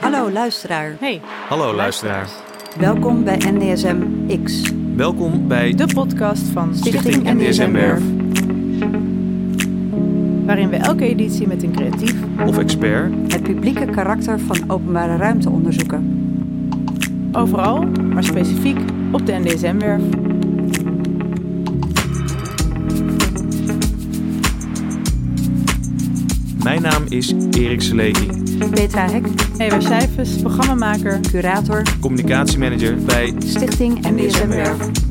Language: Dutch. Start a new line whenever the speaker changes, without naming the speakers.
Hallo luisteraar,
Hey,
Hallo Oh, luisteraar.
welkom bij NDSM X.
Welkom bij
de podcast van
Stichting NDSM Werf
waarin we elke editie met een creatief
of expert
Het publieke karakter van openbare ruimte onderzoeken.
overal, maar specifiek op de NDSM-werf.
Mijn naam is Erik Seleki,
Petra Hek,
Eva Cijfers, programmamaker.
curator,
communicatiemanager bij
Stichting NDSM Werf.